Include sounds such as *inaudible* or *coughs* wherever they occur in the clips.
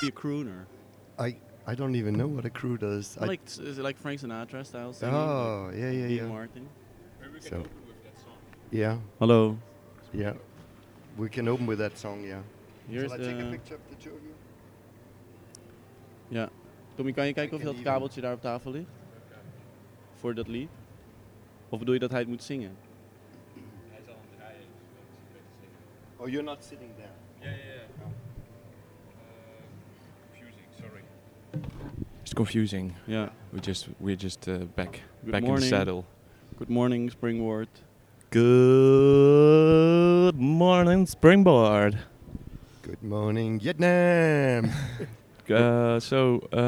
be a crooner? I I don't even know what a crew does. I- like is it like Frank Sinatra style singing? like oh yeah yeah Dean yeah Martin. Maybe we can So- open with that song. yeah Hello. yeah. We can open with that song. Yeah. Here's Shall I take a the. picture of the two of you? Ja. Tommy, kan je kijken of Ik dat ken die wel. kabeltje daar op tafel ligt? Voor dat lied? Of bedoel je dat hij het moet zingen? Hij is al aan het draaien, dus dat is beter zeker. Oh, you're not sitting there. Ja, ja, ja. Eh, Confusing, sorry. It's confusing. Ja. We just we're just uh, back Good back in morning. the saddle. Good morning, Springboard. Good morning, Springboard. Good morning, Vietnam. Uh, so uh,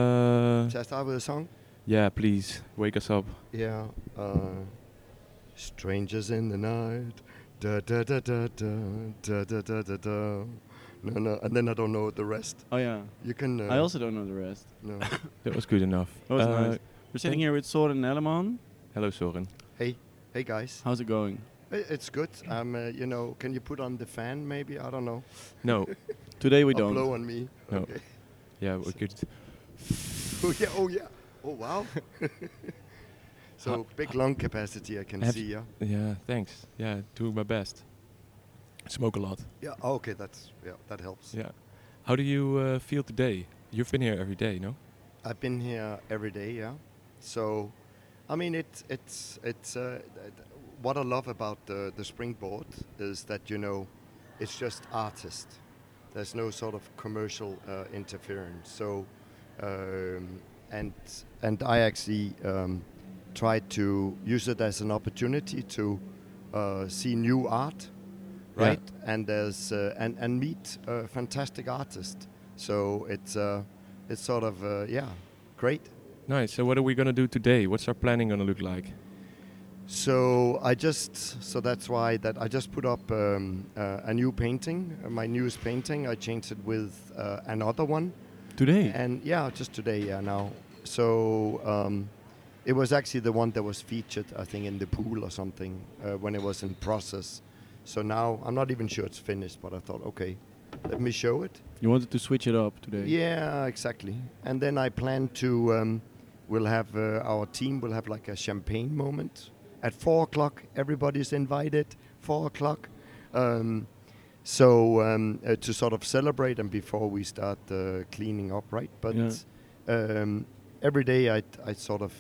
*laughs* Shall I start with a song? yeah, please wake us up. Yeah. Uh, Strangers in the night. Da da da da da da da da da da. No, no, and then I don't know the rest. Oh ja. You can. Uh, I also don't know the rest. *laughs* No. That was good enough. That was Uh, nice. We're sitting here with Soren Nelleman. Hello, Soren. hey, hey guys. How's it going? I- It's good. Um, uh, you know, can you put on the fan? Maybe I don't know. No, Today we Or don't. blow on me. No. Okay. *laughs* yeah, we could. Oh yeah. Oh yeah. Oh wow. *laughs* so big lung capacity. I can Have- see. Yeah. Yeah, thanks. Yeah, doing my best. Smoke a lot. Yeah. oh, okay. That's yeah. That helps. Yeah. How do you uh, feel today? You've been here every day, no? I've been here every day, yeah. So, I mean, it, it's it's uh, th- th- what I love about the the springboard is that you know, it's just artist. There's no sort of commercial uh, interference. So, um, and and I actually um, try to use it as an opportunity to uh, see new art, Yeah. right? And there's uh, and and meet uh, fantastic artists. So it's. Uh, it's sort of uh, yeah great Nice. So what are we gonna do today? What's our planning gonna look like? so i just so that's why that i just put up um, uh, a new painting uh, my newest painting i changed it with uh, another one Today? and yeah just today yeah now so um, it was actually the one that was featured i think in the pool or something uh, when it was in process so now i'm not even sure it's finished but i thought okay let me show it You wanted to switch it up today. *laughs* Yeah, exactly. And then I plan to, um, we'll have uh, our team will have like a champagne moment at four o'clock. Everybody's invited. Four o'clock. Um, so um, uh, to sort of celebrate and before we start uh, cleaning up, right? But Yeah. um, every day I, I sort of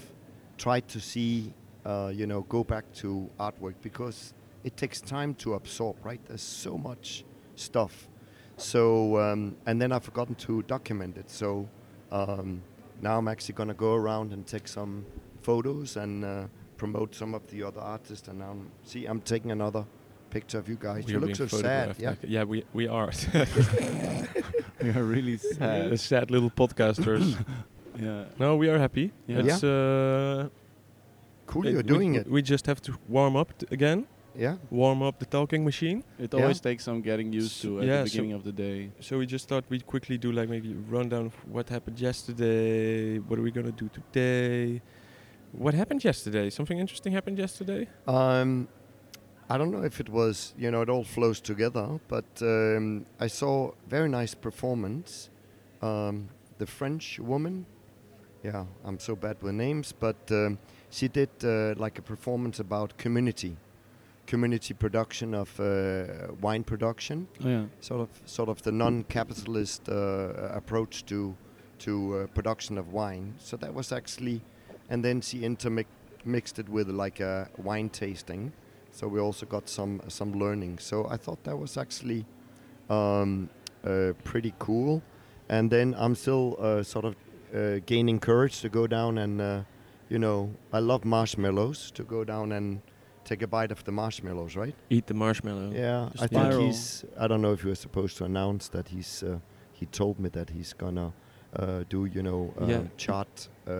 try to see, uh, you know, go back to artwork because it takes time to absorb, right? There's so much stuff. So, um, and then I've forgotten to document it. So um, now I'm actually going to go around and take some photos and uh, promote some of the other artists. And now, I'm, see, I'm taking another picture of you guys. We you are look so being sad. photographed Yeah. like- yeah, we we are *laughs* We are *laughs* really sad. the sad little *coughs* podcasters. yeah. no, we are happy. Yeah. It's, uh, Cool, it- you're we- doing we, it. We just have to warm up t- again. Yeah. Warm up the talking machine. It Yeah. always takes some getting used to at Yeah, the so- beginning of the day. So we just thought we'd quickly do like maybe a rundown of what happened yesterday. What are we gonna do today? What happened yesterday? Something interesting happened yesterday. Um, I don't know if it was, you know, it all flows together, but um, I saw very nice performance. Um, the French woman, yeah, I'm so bad with names, but um, she did uh, like a performance about community, community production of uh, wine production, Oh yeah. sort of sort of the non-capitalist uh, approach to to uh, production of wine. So that was actually, and then she intermix mixed it with like a wine tasting. So we also got some some learning. So I thought that was actually um, uh, pretty cool. And then I'm still uh, sort of uh, gaining courage to go down and uh, you know I love marshmallows to go down and take a bite of the marshmallows, right? Eat the marshmallow. Yeah, The I think spiral. he's. I don't know if you were supposed to announce that he's. Uh, he told me that he's gonna uh, do, you know, uh, Yeah. chart, uh,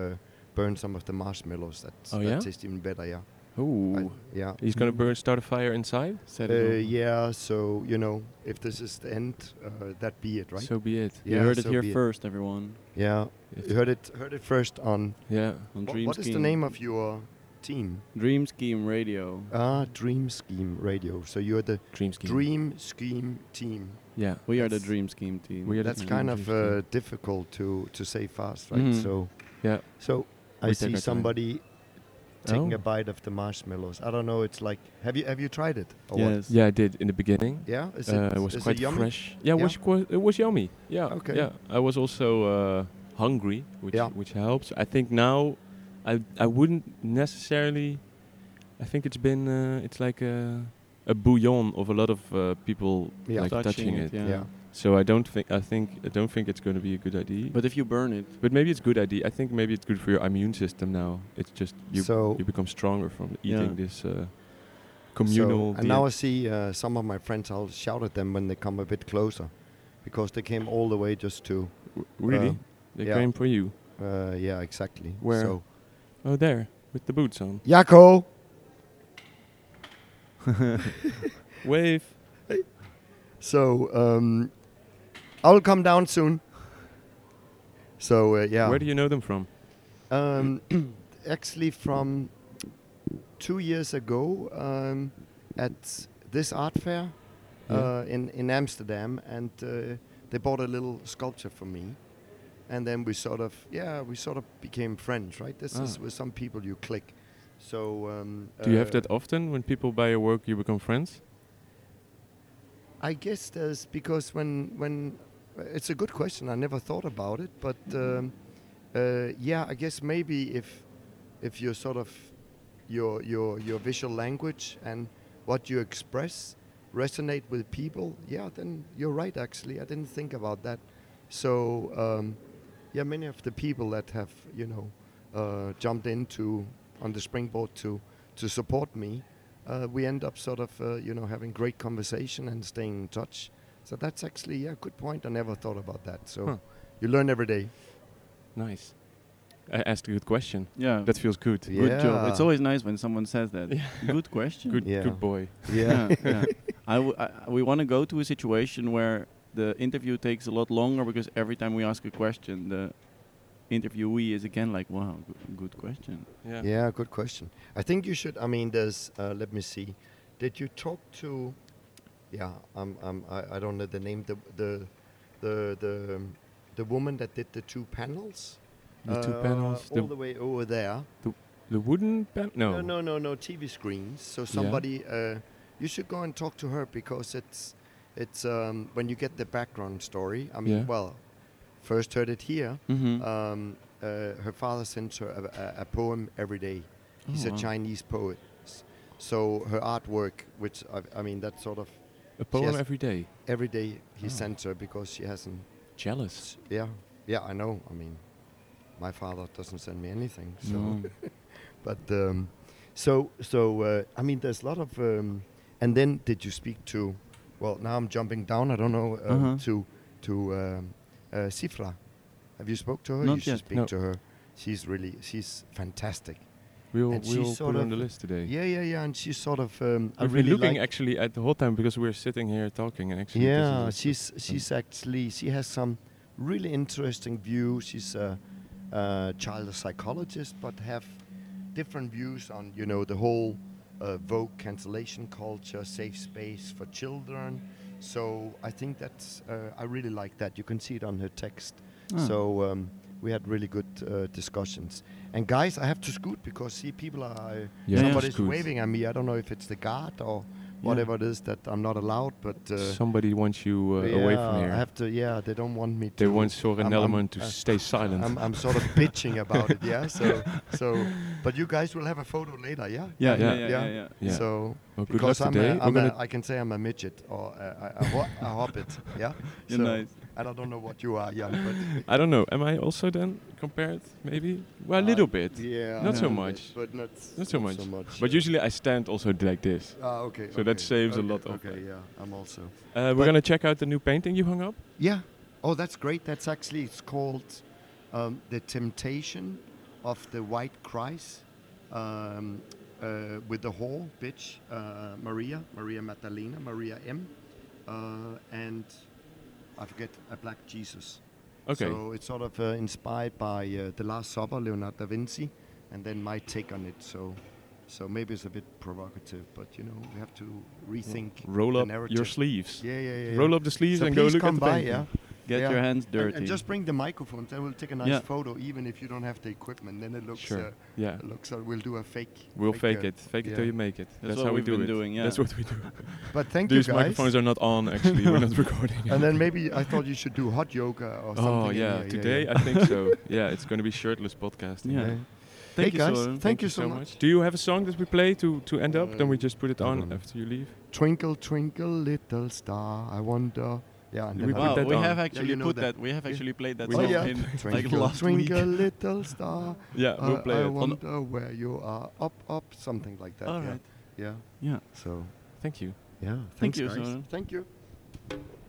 burn some of the marshmallows. That's, Oh, that yeah? tastes even better. Yeah, I- Oh. Ooh. yeah, He's gonna burn, start a fire inside. Set uh, it up. yeah. So you know, if this is the end, uh, that be it, right? So be it. You heard it so here be first, everyone. Yeah, you heard it. Heard it first on. Yeah. On Wha- Dream what is the Scheme. name of your team? Dream Scheme Radio, Ah, Dream Scheme Radio. So you're the Dream scheme. Dream Scheme team. Yeah. we are the That's- Dream Scheme team. We are the That's Dream kind of Scheme uh, team. difficult to to say fast, right? Mhm. So Yeah. So I We take our see time. somebody taking Oh. a bite of the marshmallows. I don't know. It's like, have you have you tried it? Or what? yes. Yeah, I did in the beginning. Yeah. Is uh, it was is quite yummy? fresh. Yeah, it Yeah. was qu- it was yummy. Yeah. Okay. Yeah, I was also uh, hungry, which Yeah. which helps. I think now, I I wouldn't necessarily. I think it's been uh, it's like a a bouillon of a lot of uh, people Yeah. like touching, it. yeah. Yeah. So I don't think I think I don't think it's going to be a good idea. But if you burn it, But maybe it's good idea. I think maybe it's good for your immune system now. It's just you so you become stronger from Yeah. eating this uh, communal. So, and now I diet. see uh, some of my friends. I'll shout at them when they come a bit closer, because they came all the way just to. W- really, uh, they yeah. came for you. Uh, yeah, exactly. Where? So, Oh, there with the boots on. Jaco, Wave. so um, I'll come down soon. So uh, yeah. Where do you know them from? Um, *clears throat* actually, from two years ago um, at this art fair Yeah. uh, in in Amsterdam, and uh, they bought a little sculpture for me, and then we sort of yeah we sort of became friends, right? This is Ah. with some people you click. So um, Do you have uh, that often when people buy your work, you become friends? I guess there's because when when it's a good question. I never thought about it, but um, uh, yeah, I guess maybe if if your sort of your your your visual language and what you express resonate with people, yeah, then you're right. Actually, I didn't think about that. So um, yeah, many of the people that have you know uh, jumped into on the springboard to to support me uh, we end up sort of uh, you know having great conversation and staying in touch. So that's actually yeah, good point. I never thought about that. So Huh. you learn every day. Nice. I asked a good question. yeah, That feels good. good job. It's Yeah. always nice when someone says that. Yeah. Good question. Good, Yeah. good boy. *laughs* yeah. yeah. I w- I, I- we want to go to a situation where the interview takes a lot longer because every time we ask a question, the interviewee is again like, "Wow, good, good question." Yeah. yeah, good question. I think you should. I mean, there's. Uh, let me see. Did you talk to? Yeah, um, um, I, I don't know the name. The the the the, um, the woman that did the two panels. The two uh, panels. all The, the, way over there. the wooden pan? No. No, no, no, no. TV screens. So somebody, uh, you should go and talk to her because it's, it's um, when you get the background story. I mean, Yeah. well, first heard it here. Mm-hmm. Um, uh, her father sends her a, a, a poem every day. Oh, He's a Chinese poet. S- So her artwork, which I, I mean, that's sort of A poem Yes. every day. every day he Oh. sends her because she hasn't. Jealous. Yeah, yeah, I know. I mean, my father doesn't send me anything. So. No. But um, so so uh, I mean, there's a lot of. Um, and then did you speak to? Well, now I'm jumping down. I don't know um, Uh-huh. to to um, uh, Sifra. Have you spoke to her? Not you should yet, speak no. to her. She's really she's fantastic. We'll, And she's we'll sort put it on of- the list today. Yeah, yeah, yeah. And she's sort of. Um, I We've really been looking like. actually at the whole time because we're sitting here talking and actually. this is yeah, a- she's she's actually she has some really interesting views. She's a, a child psychologist, but have different views on you know the whole uh, vogue cancellation culture, safe space for children. So I think that's uh, I really like that. You can see it on her text. Ah. So um, we had really good uh, discussions. And guys, I have to scoot because see people are uh, Yeah, Yeah. somebody's scoot. waving at me. I don't know if it's the guard or whatever it is that I'm not allowed, but. Uh, Somebody wants you uh, away from yeah, here. I have to. Yeah, they don't want me. they to, want Soren I'm- I'm- Nellerman to uh, stay silent. I'm, I'm sort of bitching about it. Yeah. *laughs* So so, but you guys will have a photo later. Yeah. yeah, Yeah. yeah, yeah, Yeah. yeah, yeah. yeah. So well, Oh, good luck because I'm, today. a, We're I'm gonna- a, I can say I'm a midget or a, a, a, ho- a hobbit. Yeah. You're So- nice. And I don't know what you are, young, but I don't know. Am I also then compared? Maybe. *laughs* Well, a Uh, little bit. yeah, Not a so little much. bit, but not Not so much. So much But yeah. usually I stand also like this. Ah, okay. so that okay, saves a okay, lot of Okay. that. Yeah. I'm also. Uh, But- we're gonna check out the new painting you hung up. Yeah. Oh, that's great. That's actually it's called um, the temptation of the white Christ um, uh, with the whore bitch uh, Maria, Maria Magdalena, Maria M, uh, and I forget a black Jesus. Okay. So it's sort of uh, inspired by uh, the Last Supper, Leonardo da Vinci, and then my take on it. So So maybe it's a bit provocative, but you know we have to rethink. Roll the up your narrative. sleeves. Yeah, yeah, yeah. Roll up the sleeves so and go please look come at the by, painting. yeah. Get Yeah. your hands And- dirty. And, just bring the microphones, and we'll take a nice Yeah. photo, even if you don't have the equipment. Then it looks. Sure. Uh, Yeah. looks. Uh, we'll do a fake. We'll fake uh, it. Fake it yeah. till you make it. That's, That's how what we we've do been it. doing, yeah. That's what we do. But thank These you guys. microphones are not on actually. We're *laughs* not recording. and then maybe I thought you should do hot yoga or something. Oh in yeah, here. today yeah. I think so. *laughs* Yeah, it's going to be shirtless podcasting. Yeah. Yeah. Thank hey you, guys, Soren. thank, Thank you so much. Do you have a song that we play to to end up? Then we Uh, just put it I on don't know. after you leave. Twinkle, twinkle, little star, I wonder. Yeah, and We then put I- Wow, that we on. have Yeah, actually you know put that. that. We have Yeah. actually played that We song have. in like twinkle, last week. twinkle, little star. Yeah, uh, we'll play I it. wonder where you are. Up, up, something like that. All yeah. right. yeah. Yeah. So, Thank you. yeah. Thank thanks, you, guys. Soren. Thank you.